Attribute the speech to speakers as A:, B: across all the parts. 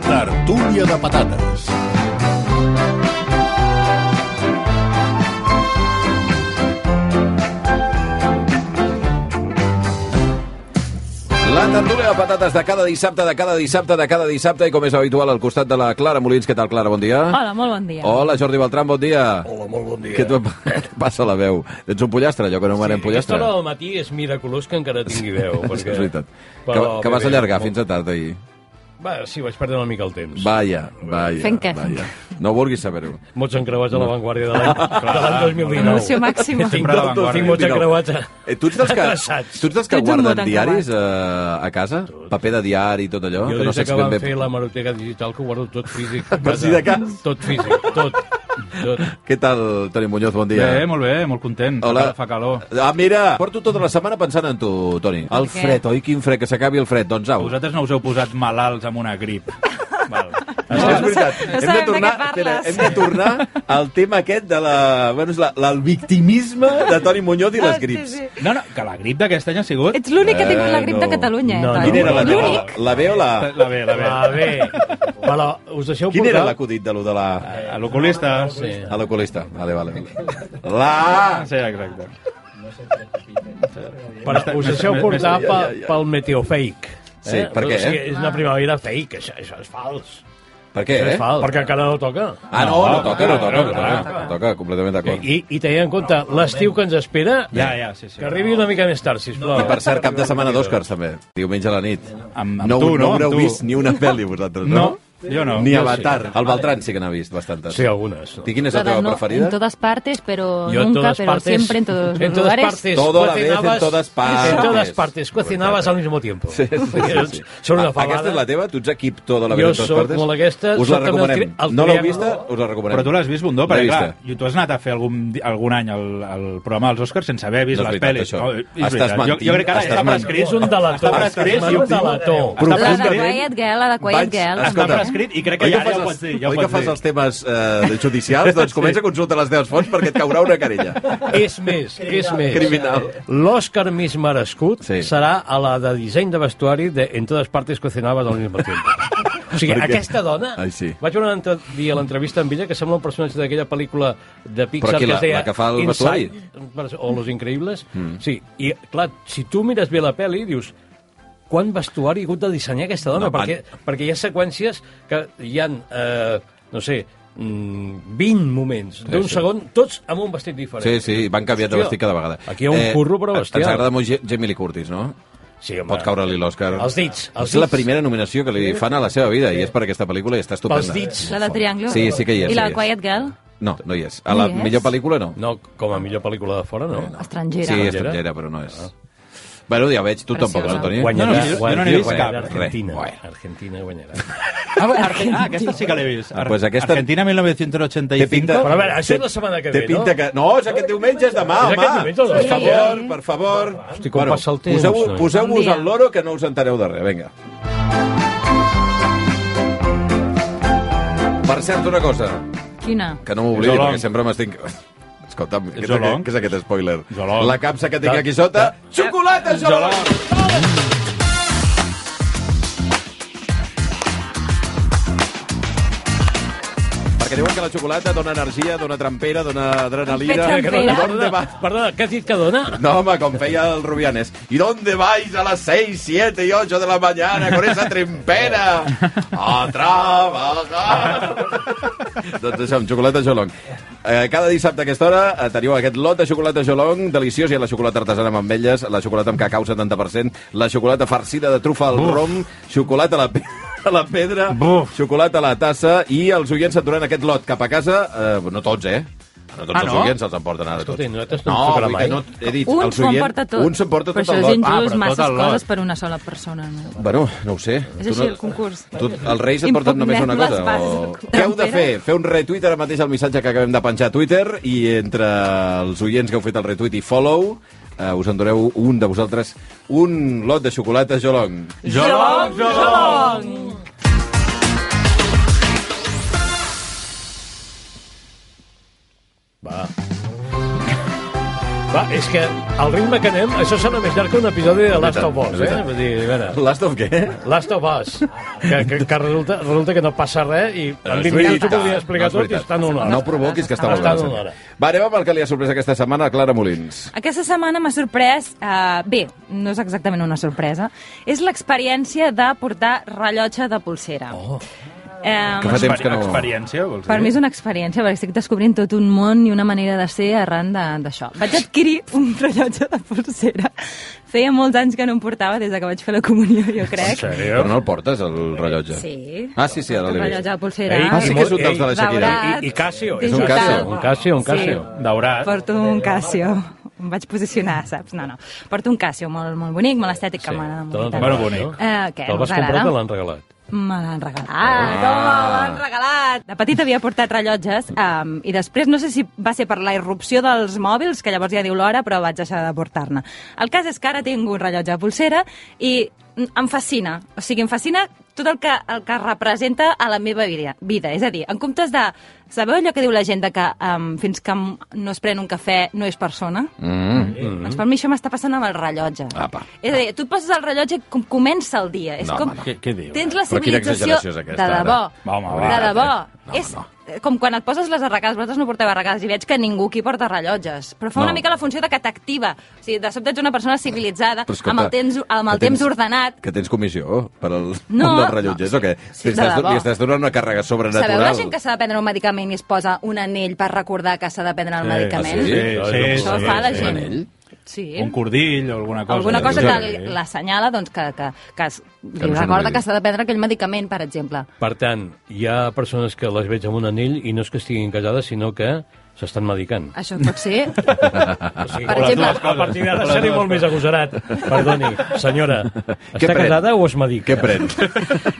A: tertúlia de patates. La tertúlia de patates de cada dissabte, de cada dissabte, de cada dissabte i com és habitual al costat de la Clara Molins. Què tal, Clara? Bon dia.
B: Hola, molt bon dia.
A: Hola, Jordi Beltran, bon dia.
C: Hola, molt bon dia.
A: Què et va- què et passa a la veu? Ets un pollastre, allò que no m'anem
C: A aquesta
A: pollastre.
C: hora del matí és miraculós que encara tingui veu.
A: Sí,
C: Perquè...
A: és veritat. Que,
C: Però
A: que
C: bé,
A: vas
C: bé,
A: allargar
C: molt-
A: fins a tard ahir.
C: Va, sí, vaig perdre una mica el temps. Va.
A: Vaja, vaja,
B: Fent què?
A: vaja. No vulguis saber-ho.
C: Mots encreuats a l'avantguàrdia de l'any de l'any 2019.
B: Emoció màxima.
C: Tinc,
D: Sempre a
C: tot,
D: l'avantguàrdia.
C: tinc mots encreuats. A...
A: Eh, tu ets dels que,
C: Atreçats.
A: tu ets dels que
B: Tu ets un
A: guarden
B: mot encreuat.
A: diaris eh, a casa? Paper de diari i tot allò?
C: Jo
A: que no
C: des
A: saps
C: que
A: ben
C: vam
A: bé...
C: fer la maroteca digital que ho guardo tot físic. a
A: Per si
C: casa.
A: de cas.
C: Tot físic, tot. tot.
A: Què tal, Toni Muñoz? Bon dia.
D: Bé, molt bé, molt content.
A: Hola.
D: Fa calor.
A: Ah, mira, porto tota la setmana pensant en tu, Toni. El
B: què?
A: fred, oi? Quin fred, que s'acabi el fred. Doncs au.
D: Vosaltres no us heu posat malalts amb una grip. Val.
A: No, és veritat.
B: no sabem de què
A: espera,
B: parles.
A: hem de tornar al tema aquest de la, bueno, és la, la, el victimisme de Toni Muñoz i les grips.
B: Ah, Sí, sí.
D: No, no, que la grip d'aquest any ha sigut...
B: Ets l'únic que ha tingut la
A: Eh,
B: grip
A: no.
B: de Catalunya, eh,
C: No,
B: Toni?
A: Quina era la teva?
B: L'únic.
A: La B o la...
D: La bé, la bé.
C: Va bé. Però us deixeu
A: Quin era
C: portar...
A: l'acudit de lo de la...
D: A l'oculista.
C: Sí.
A: A l'oculista. Vale, vale. La...
D: Sí, exacte.
C: Però us deixeu
D: Més-
C: portar
D: més-
C: pel, pel meteo fake.
A: Sí, per què,
C: O sigui,
A: eh?
C: és una primavera fake, això, això és fals.
A: Per què,
C: És
A: eh?
C: fals. Perquè encara no toca.
A: Ah, no, no toca, no toca,
D: No,
A: no toca. No toca, completament d'acord.
C: I, i tenint en compte l'estiu que ens espera,
D: Ja, ja, sí, sí.
C: que arribi una mica més tard, sisplau.
A: I per cert, cap de setmana d'Òscars, també. Diumenge a la nit.
D: Amb- amb
A: no,
D: tu,
A: no
D: no?
A: haureu
D: Amb tu.
A: vist ni una pel·li, vosaltres,
D: No,
A: no?
D: jo no.
A: Ni
D: Jo
A: Avatar. El Beltran sí que n'ha vist bastantes.
C: Sí, algunes.
A: I quina és la
B: Todas
A: teva
B: no,
A: preferida?
B: En todas partes, pero
C: Yo en
B: nunca,
C: todas
B: pero
C: partes,
B: siempre en todos
C: en
B: los
C: todas
B: lugares.
C: partes
A: Todo a la vez, en
C: cocinabas-
A: todas partes.
C: en todas partes cocinabas al mismo tiempo
A: Sí, sí, sí, sí.
C: són una
A: Ah,
C: fabada
A: Aquesta és la teva? Tu ets equip tota la
C: Jo
A: vida en totes
C: sóc
A: partes?
C: molt aquesta,
A: Us la
C: sóc també el
A: recomanem.
C: tri- el
A: No l'heu
C: triangle.
A: vista? Us la recomanem.
D: Però tu l'has vist, Bundó,
A: L'he
D: perquè
A: vista.
D: clar, i tu has anat a fer algun, di- algun any al, al programa dels Oscars sense haver vist
A: No és
D: les
A: veritat,
D: pel·lis.
A: això.
D: és
A: Estàs
D: veritat. Jo,
A: mentint,
D: jo crec que ara
A: estàs
D: està
A: mentint.
D: prescrit
C: És un delató.
D: Està prescrit
C: Estàs
D: i ho
C: un delató.
D: Està
B: La de
D: prescrit.
B: Quiet Girl, la de Quiet
A: Vaig-
B: Girl.
D: Escolta, Està prescrit i crec que
A: oi
D: ja-
A: fas
D: ja ho
A: els-
D: pots dir, ja ho
A: oi que
D: pots
A: fas
D: dir.
A: els temes eh, judicials? Doncs comença a consultar les teves fonts perquè et caurà una querella.
C: És més, és més.
A: Criminal.
C: L'Òscar més merescut
A: Sí.
C: sí. serà a la de disseny de vestuari de En totes partes cocinabas al mismo tiempo. O sigui,
A: Perquè-
C: aquesta dona...
A: Ai, sí.
C: Vaig veure un altre dia l'entrevista amb ella que sembla un personatge d'aquella pel·lícula de Pixar
A: qui,
C: que
A: la-
C: es deia...
A: la que fa el
C: Inside, O Los Increïbles. Mm. Sí, i clar, si tu mires bé la pel·li, dius quant vestuari ha hagut de dissenyar aquesta dona,
A: No,
C: no, perquè, perquè hi ha seqüències que hi han, eh, no sé, mm, 20 moments d'un
A: sí.
C: segon, tots amb un vestit diferent.
A: Sí, sí, van canviant de
C: Hòstia,
A: vestit cada vegada. Eh,
C: Aquí hi ha un curro, però bestial.
A: Ens agrada molt Ge- Jamie Lee Curtis, no?
C: Sí, home.
A: Pot caure-li l'Òscar.
C: Els dits, els
A: és la
C: dits.
A: primera nominació que li fan a la seva vida i és per aquesta pel·lícula i està estupenda.
C: Pels dits.
B: La de Triangle.
A: Sí, sí que hi és.
B: I
A: sí
B: la de
A: que hi és.
B: Quiet Girl.
A: No, no hi és. A la
B: No hi és?
A: millor pel·lícula no.
C: No, com a millor pel·lícula de fora, no.
B: Estrangera.
A: Sí,
C: Estrangera?
A: estrangera, però no és. Bueno, ja ho veig, tu tampoc,
B: Preciosa.
A: no, Toni?
C: Guanyarà,
D: No, no, jo- jo no
C: guanyarà,
D: n'he vist
C: guanyarà
D: cap.
C: Argentina.
A: Res.
C: Argentina guanyarà.
D: Ah, bueno, Arge- ah, aquesta sí que l'he vist.
A: Ah, pues aquesta-
D: Argentina 1985.
A: Té pinta-
C: Però a veure, això és la setmana que
A: Té
C: ve,
A: pinta
C: no?
A: que... No, és aquest diumenge, és demà, home!
C: És aquest diumenge, el
A: Per
C: dos.
A: favor, per favor.
C: Hosti, com passa el temps,
A: poseu-
C: noi.
A: Poseu-vos
B: Bon dia.
A: al loro que no us entereu de res, vinga. Per cert, una cosa,
B: Quina?
A: que no m'oblidi,
D: Zolong.
A: perquè sempre m'estic... Escolta'm, què, què,
D: Zolong.
A: què és aquest spoiler?
D: Zolong.
A: La capsa que tinc aquí sota... Xocolata, Zolong!
D: Zolong.
A: Perquè diuen que la xocolata dona energia, dona trampera, dona adrenalina...
B: Fet trampera.
A: D'on va?
C: Perdona, què has dit que dona?
A: No, home, com feia el Rubianes. ¿Y dónde vais a las 6, 7 y 8 de la mañana con esa trempera? A trabajar! doncs això, amb xocolata Jolong. Eh, cada dissabte a aquesta hora eh, teniu aquest lot de xocolata Jolong, deliciós, hi ha la xocolata artesana amb ametlles, la xocolata amb cacau 70%, la xocolata farcida de trufa al rom, xocolata a la, pe a la pedra,
D: Buf.
A: xocolata a la tassa, i els oients s'enduran aquest lot cap a casa, eh, no tots, eh? No tots
D: Ah,
A: els
D: no?
A: oients se'ls emporten ara tots.
C: Escolti, nosaltres no ens tocarà
A: vull dir que
C: mai.
A: No, he dit,
B: Un
A: els
B: s'ho
A: oients-
B: emporta tot.
A: Un s'emporta tot
B: Però això
A: el
B: és
A: lot.
B: injust,
D: tot
B: masses
D: el lot.
B: coses per una sola persona. No?
A: Bueno, no ho sé.
B: És
A: Tu
B: així
A: no-
B: el concurs.
A: Tu, els Reis et porten només una cosa.
B: Impugnem les
A: O...
B: bases.
A: Què heu de fer? Fer un retweet ara mateix al missatge que acabem de penjar a Twitter i entre els oients que heu fet el retweet i follow eh, us endureu un de vosaltres un lot de xocolata Jolong.
D: Jolong, jolong!
C: Va. Va, És que al ritme que anem, això serà més llarg que un episodi de Last of Us,
A: és
C: eh?
A: veritat.
C: Vull dir, a veure...
A: Last of què?
C: Last of Us, que, que, que resulta, resulta que no passa res i en 20
A: veritat.
C: minuts ho podria
A: No, Ah,
C: explicar
A: és
C: tot i
A: veritat.
C: està en una hora.
A: No provoquis que està molt
C: Està
A: bé. la
C: una
A: sèrie.
C: hora.
A: Va, anem amb el que li ha sorprès aquesta setmana a Clara Molins.
B: Aquesta setmana m'ha sorprès, eh, bé, no és exactament una sorpresa, és l'experiència de portar rellotge de pulsera. Oh.
A: Que fa temps que no...
D: Experiència, vols dir?
B: Per mi és una experiència, perquè estic descobrint tot un món i una manera de ser arran de- d'això. Vaig adquirir un rellotge de pulsera. Feia molts anys que no em portava, des de que vaig fer la comunió, jo crec.
A: Però no el portes, el rellotge?
B: Sí.
A: Ah, sí, sí, ara
B: Un
A: l'he
B: rellotge
A: vist.
B: de pulsera.
C: Ei,
A: Ah, sí que és un dels de la Shakira.
B: Daurat.
C: I, I Casio.
B: És
A: un
C: Casio.
A: Casio.
C: Un Casio, un Casio.
D: Daurat.
B: Porto un Casio. Em vaig posicionar, saps? No, no. Porto un Casio molt, molt bonic, molt estètic, que m'agrada molt. i tant.
C: Bueno, bonic.
B: Eh, què,
C: Te'l
B: no us
C: vas comprar o
B: agrada?
C: te l'han regalat?
B: Me l'han regalat,
A: Ah.
B: home, Ah, me l'han regalat. De petit havia portat rellotges um, i després no sé si va ser per la irrupció dels mòbils, que llavors ja diu l'hora, però vaig deixar de portar-ne. El cas és que ara tinc un rellotge de pulsera i mm, em fascina, o sigui, em fascina tot el que, el que representa a la meva vida. vida. És a dir, en comptes de... Sabeu allò que diu la gent de que um, fins que no es pren un cafè no és persona?
A: Mm.
B: Mm. Doncs per mi això m'està passant amb el rellotge.
A: Apa.
B: És a dir, tu et poses el rellotge com comença el dia. És
A: No,
B: com...
A: home, no.
D: Què, què diu?
B: Tens la
A: eh? Però quina
B: civilització
A: exageració és aquesta,
B: de debò.
A: ara?
D: Va, home,
B: de
D: va.
B: debò.
A: No,
B: és
A: no.
B: eh, com quan et poses les arracades, vosaltres no porteu arracades i veig que ningú aquí porta rellotges. Però fa
A: No.
B: una mica la funció de que t'activa. O sigui, de sobte ets una persona civilitzada,
A: Però escolta,
B: amb el temps, amb
A: que
B: el temps
A: tens-
B: ordenat.
A: Que tens comissió per al
B: No,
A: món dels
B: no.
A: rellotges, o què?
B: Sí,
A: Li
B: de
A: estàs,
B: debò.
A: li estàs donant una càrrega sobrenatural.
B: Sabeu la gent que s'ha de prendre un medicament i es posa un anell per recordar que s'ha de prendre el medicament?
A: Ah, sí?
B: Això ho fa la
A: sí.
B: gent.
A: Un anell?
B: Sí.
D: Un cordill o alguna cosa.
B: Alguna cosa
A: sí.
B: que l'assenyala doncs, que, que, que, es-
A: no
B: li
A: és una
B: recorda
A: idea.
B: que s'ha de prendre aquell medicament, per exemple.
C: Per tant, hi ha persones que les veig amb un anell i no és que estiguin callades, sinó que s'estan medicant.
B: Això pot ser?
C: O sigui,
B: Ah, Per
C: o les
B: exemple-
C: dues coses. Ah, a partir d'ara seré molt més agosarat. Perdoni, senyora,
A: Què
C: està
A: pren?
C: casada o es medica?
A: Què pren?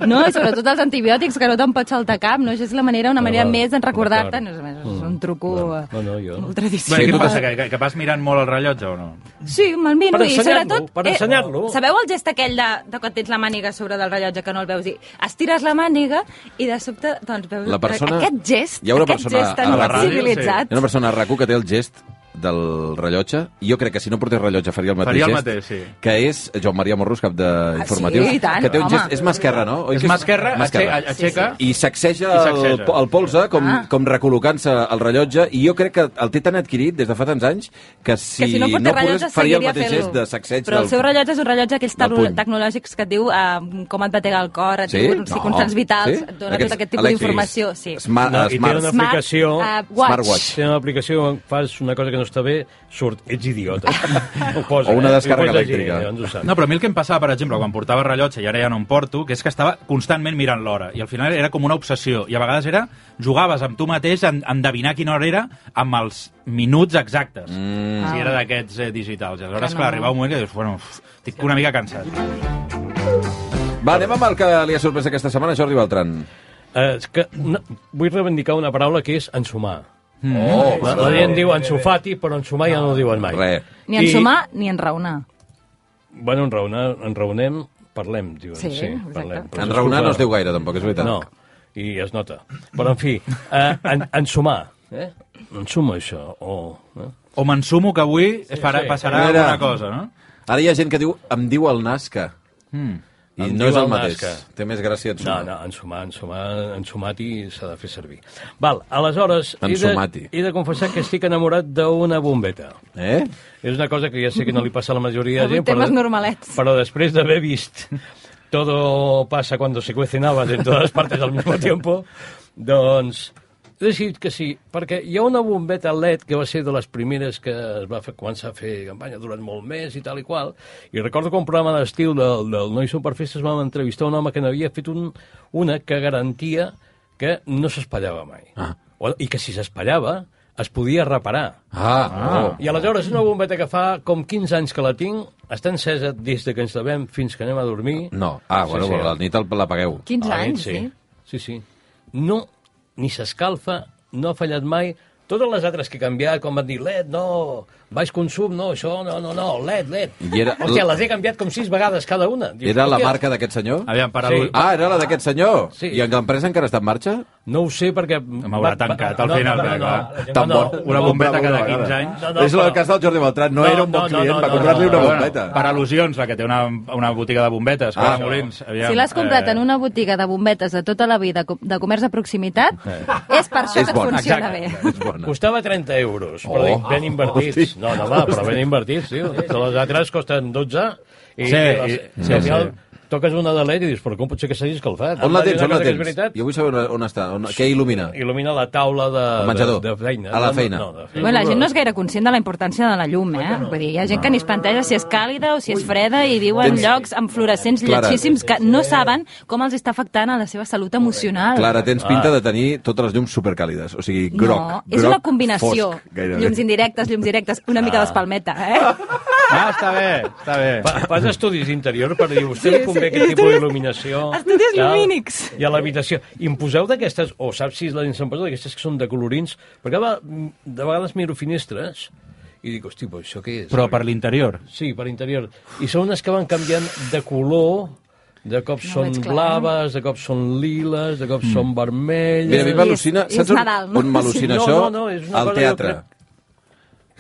B: No, i sobretot els antibiòtics, que no te'n pots saltar cap, no? Això és la manera, una manera
C: val.
B: més en recordar-te,
C: D'acord.
B: no és, més,
A: Mm.
B: és un truco eh,
C: No, no, jo-
B: molt
D: Bé,
B: tradicional.
D: què passa? Que, que, que vas mirant molt el rellotge o no?
B: Sí, me'l miro,
C: Per
B: i
C: ensenyar-lo,
B: sobretot... eh,
C: per ensenyar-lo.
B: sabeu el gest aquell de, de quan tens la màniga a sobre del rellotge que no el veus? I estires la màniga i de sobte doncs, veus
A: La persona-
B: aquest gest,
A: Hi ha una
B: aquest
A: persona
B: gest
A: a
B: tan
A: la ràdio,
B: civilitzat.
A: Hi ha una persona a RAC1 que té el gest del rellotge, i jo crec que si no portés rellotge faria el mateix
D: Faria el
A: gest,
D: mateix, sí.
A: que és Joan Maria Morrus, cap d'informatius,
B: Ah, sí, i tant,
A: que té un
B: home.
A: gest... És mà esquerra, no? Oi
D: És
A: que
D: mà esquerra,
A: mà esquerra.
D: axe- aixeca...
A: I sacseja,
D: I
A: el,
D: sacseja.
A: el polze, com,
B: Ah.
A: com recol·locant-se el rellotge, i jo crec que el té tan adquirit des de fa tants anys que si,
B: que si no pot
A: no
B: no rellotge,
A: pogués, faria el
B: seguiria
A: mateix
B: fent-lo.
A: gest de sacseig
B: Però el
A: del...
B: seu rellotge és un rellotge aquells
A: del
B: tecno-
A: puny.
B: tecnològics que et diu eh, com et batega el cor, et
A: Sí?
B: diu no. constants vitals,
A: Sí?
B: et dona
A: Aquests
B: tot aquest tipus
A: elèctrics.
B: d'informació. Sí.
A: Smart,
C: No,
A: no,
C: i té
A: smart.
C: una- aplicació-
B: Smart, eh, watch.
A: Smartwatch.
C: Si en l'aplicació quan fas una cosa que no està bé, surt, ets idiota. Ho posa,
A: O una
C: eh?
A: descàrrega
C: Ho pots llegir,
A: elèctrica.
C: llavors ho saps.
D: No, però a mi el que em passava, per exemple, quan portava rellotge i ara ja no em porto, que és que estava constantment mirant l'hora i al final era com una obsessió i a vegades era jugaves amb tu mateix a en- a endevinar quina hora era amb els minuts exactes. Mm. Si era d'aquests eh, digitals. I aleshores,
B: Que no.
D: clar, arribava un moment que dius, bueno, uf, estic una mica cansat.
A: Va, anem amb el que li ha sorprès aquesta setmana, Jordi Beltran.
C: Eh, és que no, vull reivindicar una paraula que és ensumar.
A: Oh,
C: La, la gent diu ensufati, però ensumar ja no ho diuen mai.
A: Re.
B: Ni en sumar ni en raonar.
C: Bueno, enraonar, enraonem, parlem, diuen.
B: Sí,
C: Sí,
B: exacte.
C: parlem. Però
A: En
C: és
A: raonar
C: culpa-
A: no es diu gaire, tampoc, és veritat.
C: No, i es nota. Però, en fi, eh, en, ensumar, eh? Ensuma això, o... Eh?
D: O m'ensumo que avui sí, farà,
C: sí.
D: sí. passarà
A: Mira.
D: alguna cosa, no?
A: Ara hi ha gent que diu, em diu el Nazca. Mm. I
C: Em
A: no
C: diu
A: és el
C: el
A: mateix.
C: Nazca.
A: Té més gràcia en
C: No,
A: sumar.
C: no, ensumar, ensumar, ensumati s'ha de fer servir. Val, aleshores, he
A: Ensumati.
C: de, he de confessar que estic enamorat d'una bombeta.
A: Eh?
C: És una cosa que ja sé que no li passa a la majoria de
B: Avui
C: gent, però,
B: temes normalets.
C: però després d'haver vist Todo pasa cuando se cuecen habas en todas partes al mismo tiempo, doncs he decidit que sí, perquè hi ha una bombeta LED que va ser de les primeres que es va fer, començar a fer campanya durant molt més i tal i qual, i recordo que un programa d'estiu del, del Noi Superfestes vam entrevistar un home que n'havia fet un, una que garantia que no s'espallava mai.
A: Ah.
C: O- I que si s'espallava es podia reparar.
A: Ah,
C: Oh. I aleshores una bombeta que fa com 15 anys que la tinc, està encesa des de que ens devem fins que anem a dormir.
A: no. No. Ah, bueno, sí, sí. la nit el- l'apagueu.
B: 15
C: A la nit,
B: anys, sí.
C: sí. Sí, sí. No, ni s'escalfa, no ha fallat mai. Totes les altres que he canviat, com van dir LED, no, baix consum, no, això, no, no, no, LED, LED.
A: I era-
C: Hòstia, les he canviat com sis vegades cada una. Dius,
A: Era la
C: hòstia,
A: marca d'aquest senyor?
D: Aviam, per
C: Sí.
D: sí.
A: Ah, era la d'aquest senyor?
C: Sí.
A: I l'empresa encara està en marxa?
C: No ho sé perquè...
D: M'haurà
C: va- va-
D: tancat al final,
C: No, no,
D: clar,
C: no,
D: clar.
C: la gent-
A: Tan
C: no,
A: bo.
C: no,
D: Una
C: no,
D: bombeta
C: no, no,
D: cada
C: no,
D: 15
C: no,
D: anys.
C: no, no,
A: és el
C: però-
A: cas del Jordi Beltran, no,
C: No,
A: era un bon
C: no, no,
A: client,
C: no,
A: va
C: no,
A: comprar-li
C: no,
A: una
C: no,
A: bombeta.
D: Per al·lusions, la que té una, una botiga de bombetes. Ah,
A: Ah.
D: Molins, aviam,
B: Si l'has comprat
D: eh,
B: en una botiga de bombetes de tota la vida co- de comerç de proximitat, és per això
A: És
B: que et
A: bona,
B: funciona
C: exacte.
B: bé.
A: És bona.
C: Costava 30 euros, però
A: Oh.
C: dic, ben invertits.
A: Hosti.
C: No, no, va, però ben invertits, tio. Les altres costen 12 i, i,
D: Sí,
C: les,
D: i-
C: i
D: sí,
C: al final
D: sí.
C: toques una de LED i dius, però com pot ser que s'hagi escalfat?
A: On
C: Em
A: la
C: va dir
A: tens,
C: una
A: on la
C: cosa que és
A: tens?
C: veritat.
A: Jo vull saber on, on està, on, què il·lumina.
C: Il·lumina la taula de,
A: Al menjador.
C: de, de feina.
A: A la feina.
C: No, no, de feina.
B: Bueno, la gent no és gaire conscient de la importància de la llum, eh? Vull dir, hi ha gent que ni es planteja si és càlida o si és freda i viuen
A: Tens-
B: llocs amb fluorescents
A: Clara.
B: lletgíssims que no saben com els està afectant a la seva salut emocional.
A: Clara, tens pinta de tenir totes les llums supercàlides, o sigui, groc.
B: no,
A: groc
B: és una combinació.
A: Fosc, gairebé.
B: llums indirectes, llums directes, una mica d'espalmeta, eh?
D: Ah, està bé, està bé.
C: Fa, fas estudis d'interior per dir, vostè
B: Sí,
C: sí, li
B: sí,
C: convé sí, aquest tipus
B: estudis-
C: d'il·luminació.
B: estudis
C: tal,
B: lumínics.
C: I a l'habitació. I em poseu d'aquestes, o saps si la- se'n posa d'aquestes que són de colorins, perquè a vegades- de vegades miro finestres i dic, hosti, però això què és?
D: Però per l'interior.
C: Sí, per interior. I són unes que van canviant de color, de cop
B: No
C: no són
B: veig clar. eh?
C: blaves, de cop són liles, de cop mm. són vermelles...
A: Mira, a mi m'al·lucina...
B: I és- i és
A: Saps on,
B: Nadal, no?
A: on m'al·lucina
C: Sí.
A: això?
C: No, no, no, és una
A: Al
C: cosa,
A: teatre.
C: jo crec-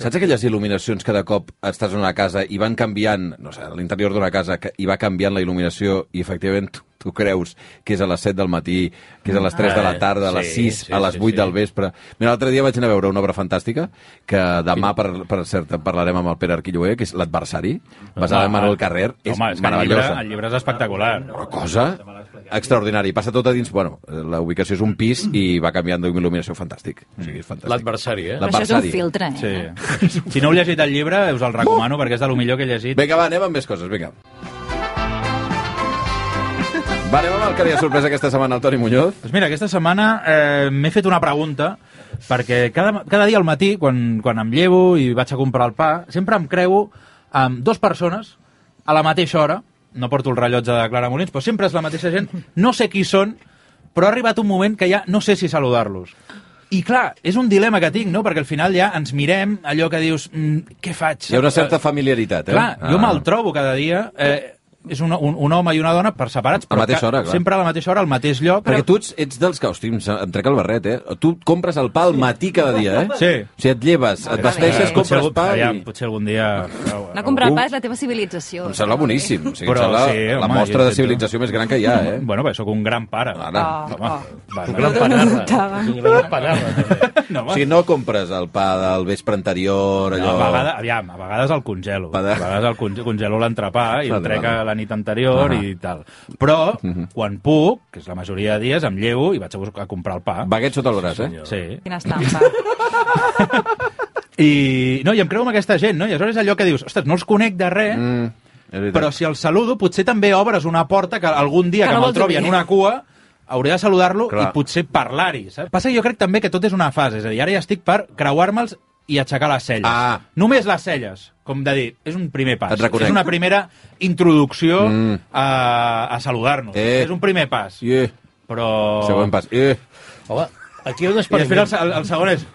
A: Saps aquelles il·luminacions que de cop estàs en una casa i van canviant, no sé, a l'interior d'una casa, que, i va canviant la il·luminació i efectivament tu, tu creus que és a les 7 del matí, que és a les 3 de la
C: Ah,
A: tarda, a les
C: sí,
A: 6,
C: sí,
A: a les
C: sí,
A: 8
C: sí.
A: del vespre... Mira, l'altre dia vaig anar a veure una obra fantàstica que demà, per, per cert, en parlarem amb el Pere Arquilloé, que és l'adversari, basada
C: Ah,
A: en Manuel Carrer, és,
D: Home, és que el llibre,
A: meravellosa
D: el llibre és espectacular.
A: una cosa extraordinària. I Passa tot a dins... Bueno, la ubicació és un pis i va canviant d'il·luminació fantàstic. O sigui, és fantàstic.
C: L'adversari, eh?
A: La-
B: Això és un
A: L'adversari.
B: filtre, eh?
D: Sí. Si no heu llegit el llibre, us el recomano, perquè és de lo millor que he llegit.
A: Vinga, va, anem amb més coses, vinga. Va, anem amb el que li ha sorprès aquesta setmana al Toni Muñoz.
D: Doncs mira, aquesta setmana eh, m'he fet una pregunta, perquè cada, cada dia al matí, quan, quan em llevo i vaig a comprar el pa, sempre em creu amb dues persones a la mateixa hora, no porto el rellotge de Clara Molins, però sempre és la mateixa gent, no sé qui són, però ha arribat un moment que ja no sé si saludar-los. I clar, és un dilema que tinc, no? Perquè al final ja ens mirem allò que dius, mm, què faig?
A: Hi ha una certa familiaritat, eh?
D: Clar, jo me'l trobo cada dia... Eh, és un, un, un home i una dona per separats, però
A: mateixa
D: ca-
A: hora, clar.
D: sempre a la mateixa hora, al mateix lloc.
A: Perquè tu ets, ets dels que, hosti, em, sa- em trec el barret, eh? Tu compres el pa al matí cada dia, eh?
D: Sí.
A: O sigui, et lleves, et vesteixes, compres
D: algun-
A: pa
D: Eh, aviam,
A: i...
D: potser algun dia...
B: Anar a comprar pa és la teva civilització.
A: Em sembla boníssim. O sigui, em
D: Però
A: sembla
D: sí,
A: la
D: home,
A: mostra
D: jo-
A: de civilització més gran que hi ha, eh? Ah,
D: Bueno, bé, sóc un gran pare.
A: Ara,
B: Oh,
D: Home,
B: oh.
C: Un
D: va, va.
C: gran
B: No, no, no,
C: panarra.
B: notava.
C: Un gran panarra, també.
D: No,
A: O sigui,
D: home.
A: no compres el pa del vespre anterior, allò...
D: A vegades, aviam, a vegades el congelo.
A: Va
D: A
A: de-
D: vegades el conge- congelo l'entrepà i
A: Va
D: el
A: de- va
D: trec
A: de-
D: a la nit anterior
A: Ahà.
D: i tal. Però,
A: Mhm.
D: quan puc, que és la majoria de dies, em llevo i vaig a, buscar, a comprar el pa.
A: Baguet sota el braç, eh?
D: Sí.
B: Quina estampa.
D: I, no, i em creu amb aquesta gent, no? I aleshores allò que dius, ostres, no els conec de res,
A: Mm, és veritat.
D: Però si el saludo, potser també obres una porta que algun dia
B: Que
D: que,
B: no
D: que me'l
B: vols
D: trobi
B: obrir.
D: en una cua hauré de saludar-lo i
A: Clar.
D: potser parlar-hi, saps? Passa que jo crec també que tot és una fase, és a dir, ara ja estic per creuar-me'ls i aixecar les celles.
A: Ah.
D: Només les celles, com de dir, és un primer pas.
A: Et reconec.
D: És una primera introducció
A: Mm.
D: a, a saludar-nos.
A: Eh.
D: És un primer pas.
A: Eh,
D: Però...
A: següent pas. Eh,
C: Home, aquí hi ha un
D: I després el,
C: experiment...
D: se- el, el segon és...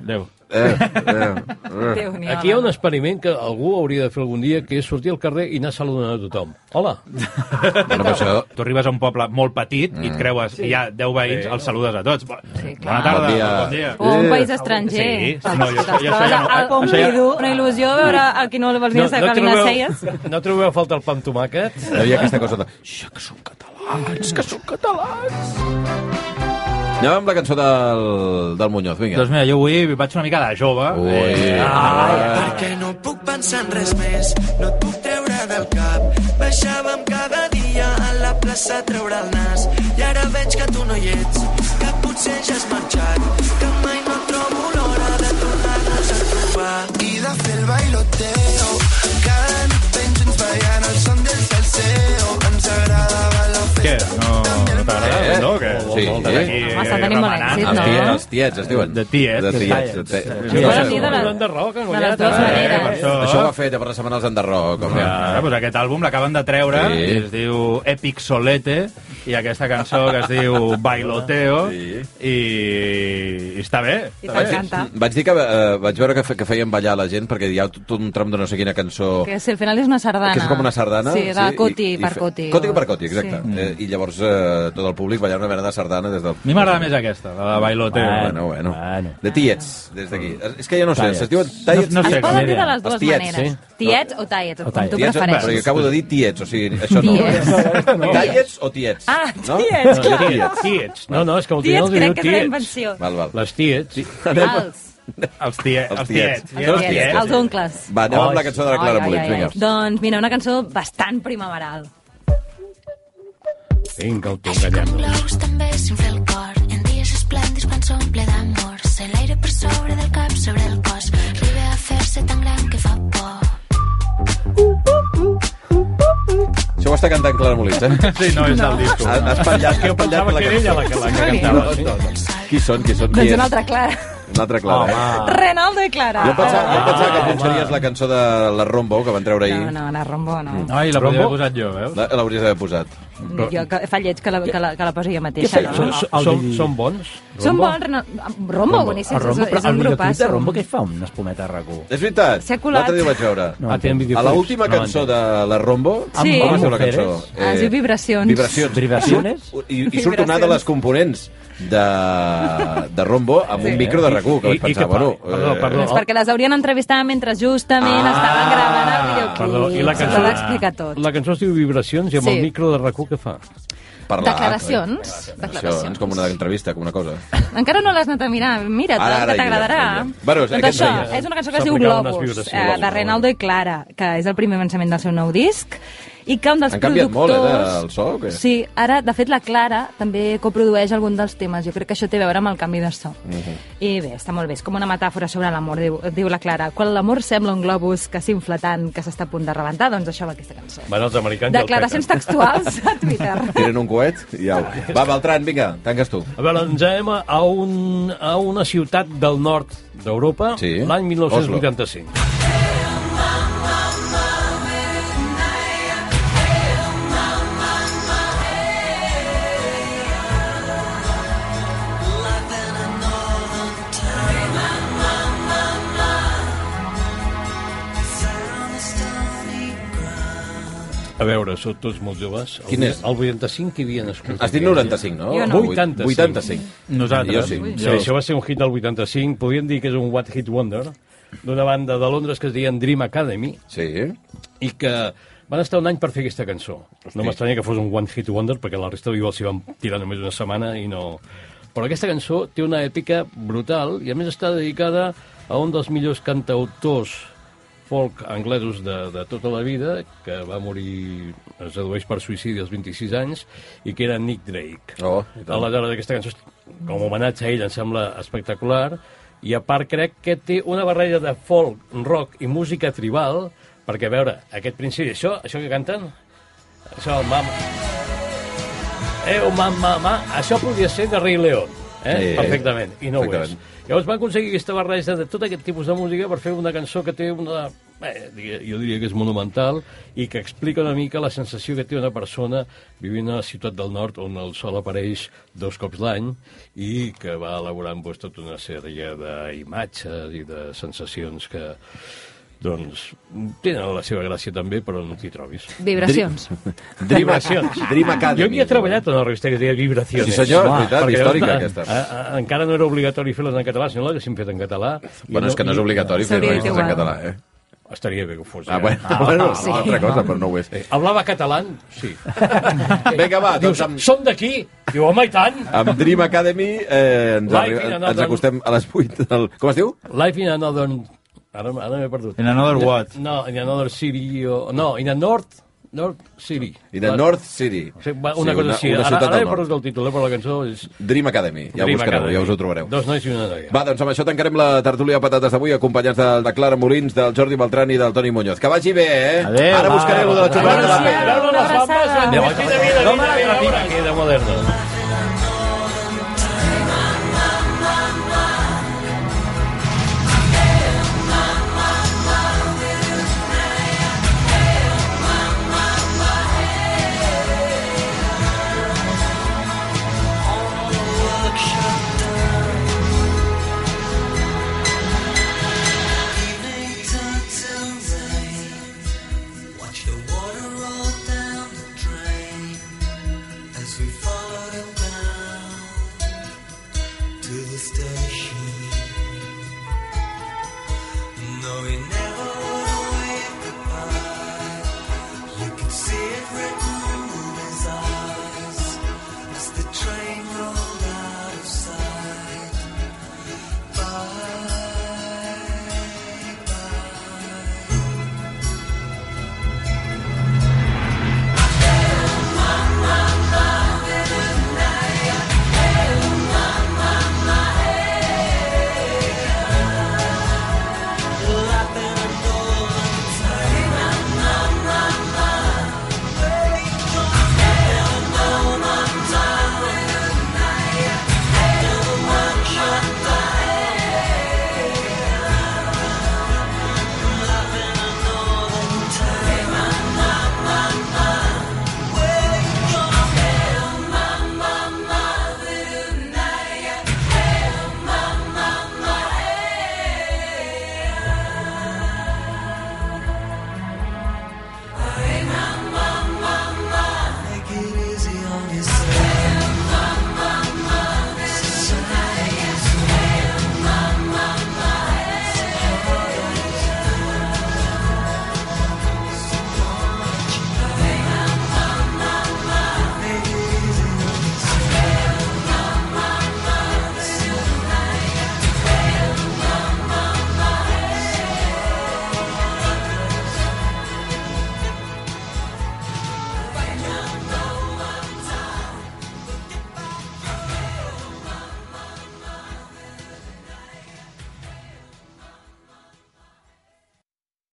D: Déu.
A: eh, eh, eh.
B: Déu-n'hi-do.
C: Aquí hi ha un experiment que algú hauria de fer algun dia, que és sortir al carrer i anar saludant a tothom. Hola.
A: Bueno, però això...
D: Tu arribes a un poble molt petit mm. i et creues, sí. hi ha 10 veïns, sí. els saludes a tots. Sí,
B: clar.
D: Bona tarda,
A: Bon dia.
D: bon dia.
B: O un
A: Eh.
B: país estranger.
D: Sí, no, jo- jo això
B: Estaves
D: ja no.
B: al- al
D: Això ja-
B: Pompidou, una il·lusió veure el qui no el vols dir no, no les celles.
C: no trobeu a falta el pa amb tomàquet?
A: Hi havia aquesta cosa de... Xia, que són catalans, que són catalans. Anem amb la cançó del, del Muñoz, vinga.
D: Doncs mira, jo avui vaig una mica de jove.
A: Ui.
D: ah,
E: Perquè no puc pensar en res més, no et puc treure del cap. Baixàvem cada dia a la plaça a treure el nas. I ara veig que tu no hi ets, que potser ja has marxat, que mai no trobo l'hora de tornar-nos a trobar. I de fer el bailoteo, cada nit tens gens ballant al son del salseo. Ens agradava la
D: Què?
E: festa.
D: No, no t'agrada? Doncs
A: Eh?
D: No, què?
A: Sí.
B: Home, està tenint molt
D: eh, remenant.
B: èxit,
A: Els
B: no?
A: tiets, els tiets, es diuen.
D: De tiets.
A: De tiets. De
D: Sí,
A: tiets.
B: Poden
D: sí.
B: dir de, la,
C: Un enderroc, han
B: de les
C: guanyat,
B: dues
C: eh?
D: Per
B: maneres.
D: això. Ah.
A: Això ho va fer per la setmana dels Enderroc.
D: Ja,
A: home.
D: doncs aquest àlbum l'acaben de treure
A: Sí.
D: i es diu Epic Solete i aquesta cançó que es diu Bailoteo
A: Sí.
D: i, i està bé.
B: I t'encanta.
A: Vaig dir que eh, vaig veure que, fe, que feien ballar la gent perquè hi ha tot un tram de no sé quina cançó...
B: Que si al final és una sardana.
A: Que és com una sardana.
B: Sí, de sí, coti
A: i- i
B: per
A: fe-
B: coti.
A: Coti per coti, exacte.
B: Sí.
A: Sí. Eh, I llavors eh, tot el públic ballar una mena de sardana des del...
D: A mi m'agrada més aquesta, la de Bailoteo.
A: Bueno, bueno.
F: Bueno.
A: De tiets, des d'aquí. És que ja no sé,
F: Tiets.
A: se'ls diuen tiets.
D: No- no
B: Es
D: sé
A: tiets?
B: poden
D: idea.
B: dir de les
A: Els
B: dues
A: tiets,
B: maneres.
F: sí.
B: Tiets o tallets,
F: O
B: com tu
F: tiets.
A: Tiets, però jo
B: prefereixis.
A: acabo de dir tiets, o sigui, això no.
B: Tiets.
A: no. Tiets o tiets?
B: Ah,
A: no?
B: tiets, clar.
C: Tiets, tiets. No, no, és que el dia
B: Tiets
C: els diu
B: crec que és la
C: tiets.
B: invenció.
A: Val, val.
C: Les tiets.
B: Els,
D: Els, tie, els,
A: Els tiets.
D: tiets.
A: Són els
B: els, tiets, els oncles.
A: Va, anem amb la cançó de la Clara
B: Ai, ai,
A: Molins,
B: ai.
A: vinga.
B: Doncs mira, una cançó bastant primaveral.
C: Vinga, el
G: Així com
C: t'enganyem.
G: globus també s'infla el cor. En dies esplèndids quan s'omple d'amor. Se l'aire per sobre del cap, sobre el cos. Arriba a fer-se tan gran que fa por.
A: Això ho està cantant Clara Molins, eh?
D: Sí, no, és del disco.
A: Has has espatllat, has espatllat
C: Pensava que era ella la que, la que cantava.
A: No,
C: sí.
A: no, no. Qui són, qui són, qui
B: Doncs
A: és?
B: una altra Clara.
A: Una altra Clara, eh?
B: Renaldo i Clara.
A: Jo em pensava, jo em pensava que
C: Ah,
A: punxaries la cançó de la Rombo que van treure ahir.
B: No, no, la Rombo no. Mm,
D: Ai, la podria haver posat jo, veus?
A: La- L'hauries d'haver posat.
B: Jo que, fa lleig que la, que la, que la poso jo mateixa. No?
C: Són,
B: No.
C: són, són, són bons?
B: Són bons, Renaldo. Rombo, boníssim,
D: Ah,
F: El Rombo,
B: és,
F: però
B: és un
F: el videoclip de
B: grupasso.
F: Rombo que fa un espumeta a rac
A: És veritat.
B: S'ha colat.
A: L'altre dia ho vaig veure.
F: No,
C: Ah, tenen
A: A
C: videoclips.
A: l'última
F: no
A: cançó de la Rombo,
C: Ah,
B: Sí.
A: com es diu la
F: Mujeres.
A: cançó? Eh,
B: Ah, es diu Vibracions.
A: Vibracions.
F: Vibraciones?
A: I, surt- i, I surt una de les components de, de Rombo amb un micro de RAC1, que
C: Eh,
A: vaig
C: I- i
A: pensar,
C: que pa-
A: bueno... eh,
C: perdó, perdó.
B: Doncs perquè les haurien entrevistat mentre justament ah, estaven gravant el videoclip.
C: Perdó, i la
B: Te
C: cançó...
B: l'explica tot.
C: La cançó es diu Vibracions i amb
B: Sí.
C: el micro de rac que fa.
A: parlar.
B: Declaracions.
A: Declaracions,
B: Declaracions.
A: com una entrevista, com una cosa.
B: Encara no l'has anat a mirar. Mira,
A: Ara, ara,
B: ara, que
A: ja,
B: t'agradarà.
A: ja, ja. Bueno,
B: doncs
A: aquest
B: això,
A: deia.
B: és una cançó que es diu
C: S'aplicava unes
B: Globus,
C: vibracions.
B: eh, de Renaldo i Clara, que és el primer avançament del seu nou disc, i que un dels
A: Han canviat molt,
B: productors...
A: eh, del so, o què?
B: Sí, ara, de fet, la Clara també coprodueix algun dels temes. Jo crec que això té a veure amb el canvi de so.
A: Mhm.
B: I bé, està molt bé. És com una metàfora sobre l'amor, diu, diu la Clara. Quan l'amor sembla un globus que s'infla tant que s'està a punt de rebentar, doncs això va aquesta cançó.
C: Van els americans i el
B: Declaracions
C: peten.
B: textuals a Twitter.
A: Tiren un coet i au. Va, Beltran, vinga, tanques tu.
C: A veure, ens anem a, un, a una ciutat del nord d'Europa
A: Sí.
C: l'any 1985. A veure, sou tots molt joves. El
A: Quin
C: vuit-
A: és?
C: El 85 hi havia nascut.
A: Has dit 95, no?
B: Jo no.
A: 85.
C: 85.
A: 85. Jo
D: Nosaltres.
A: sí.
C: Sí,
A: Jo.
C: això va ser un hit del 85, podríem dir que és un What Hit Wonder, d'una banda de Londres que es deien Dream Academy,
A: Sí.
C: i que van estar un any per fer aquesta cançó. Doncs No m'estranya que fos un One Hit Wonder, perquè la resta igual s'hi van tirar només una setmana i no... Però aquesta cançó té una èpica brutal i a més està dedicada a un dels millors cantautors folk anglesos de, de tota la vida, que va morir, es dedueix per suïcidi als 26 anys, i que era Nick Drake.
A: Oh, i tant.
C: Aleshores, aquesta cançó, com a homenatge a ell, em sembla espectacular, i a part crec que té una barreja de folk, rock i música tribal, perquè, a veure, aquest principi, això, això que canten, això, el mam... Eu, mam, mam, ma, això podria ser de Rei León, eh?
A: Sí,
C: perfectament, i no ho és.
A: perfectament.
C: Llavors van aconseguir aquesta barreja de tot aquest tipus de música per fer una cançó que té una... Eh, digue- jo diria que és monumental i que explica una mica la sensació que té una persona vivint a la ciutat del nord on el sol apareix dos cops l'any i que va elaborant pues, tota una sèrie d'imatges i de sensacions que doncs tenen la seva gràcia també, però no t'hi trobis.
B: Vibracions.
A: Dream,
C: Vibracions.
A: Dream Academy.
C: Jo havia treballat en una revista que es deia Vibraciones.
A: Sí, senyor, és
F: Home,
A: veritat,
C: Perquè
A: històrica,
C: llavors,
A: aquesta.
C: a- a- encara no era obligatori fer-les en català, si no l'haguéssim fet en català. I
A: Bueno, és que no és
C: i-
A: obligatori fer
B: S'hauria dit
A: revistes en
B: igual.
A: català, eh?
C: Estaria bé que ho fos.
A: Ah,
C: eh?
A: bueno, ah, bueno sí. altra cosa, però no ho és.
C: Eh, Hablava català? Sí.
A: Vinga, va,
C: Dius,
A: doncs amb,
C: som d'aquí? Diu, home, i tant!
A: amb Dream Academy eh, ens,
C: Live in
A: arriba,
C: another-
A: ens acostem a les 8 del... Com es diu?
C: Life in another... Ara, ara m'he perdut.
D: In another what?
C: No, in another city... O... No, in a north... North City.
A: I de North City.
C: Sí, va, una cosa així.
A: Una, una
C: ara
A: ciutat
C: ara
A: del
C: he perdut
A: nord.
C: el títol, eh, però la cançó és...
A: Dream Academy. Ja ho
C: Dream
A: buscareu,
C: Academy.
A: ja us ho trobareu.
C: Dos nois i una noia.
A: Va, doncs amb això tancarem la tertúlia de patates d'avui, acompanyats de, de Clara Molins, del Jordi Beltran i del Toni Muñoz. Que vagi bé, eh?
F: Adéu,
A: Ara
F: va.
A: buscaré lo de la xocolata de la
C: eh?
B: Adéu,
A: pedra.
B: Una abraçada.
C: Queda moderna.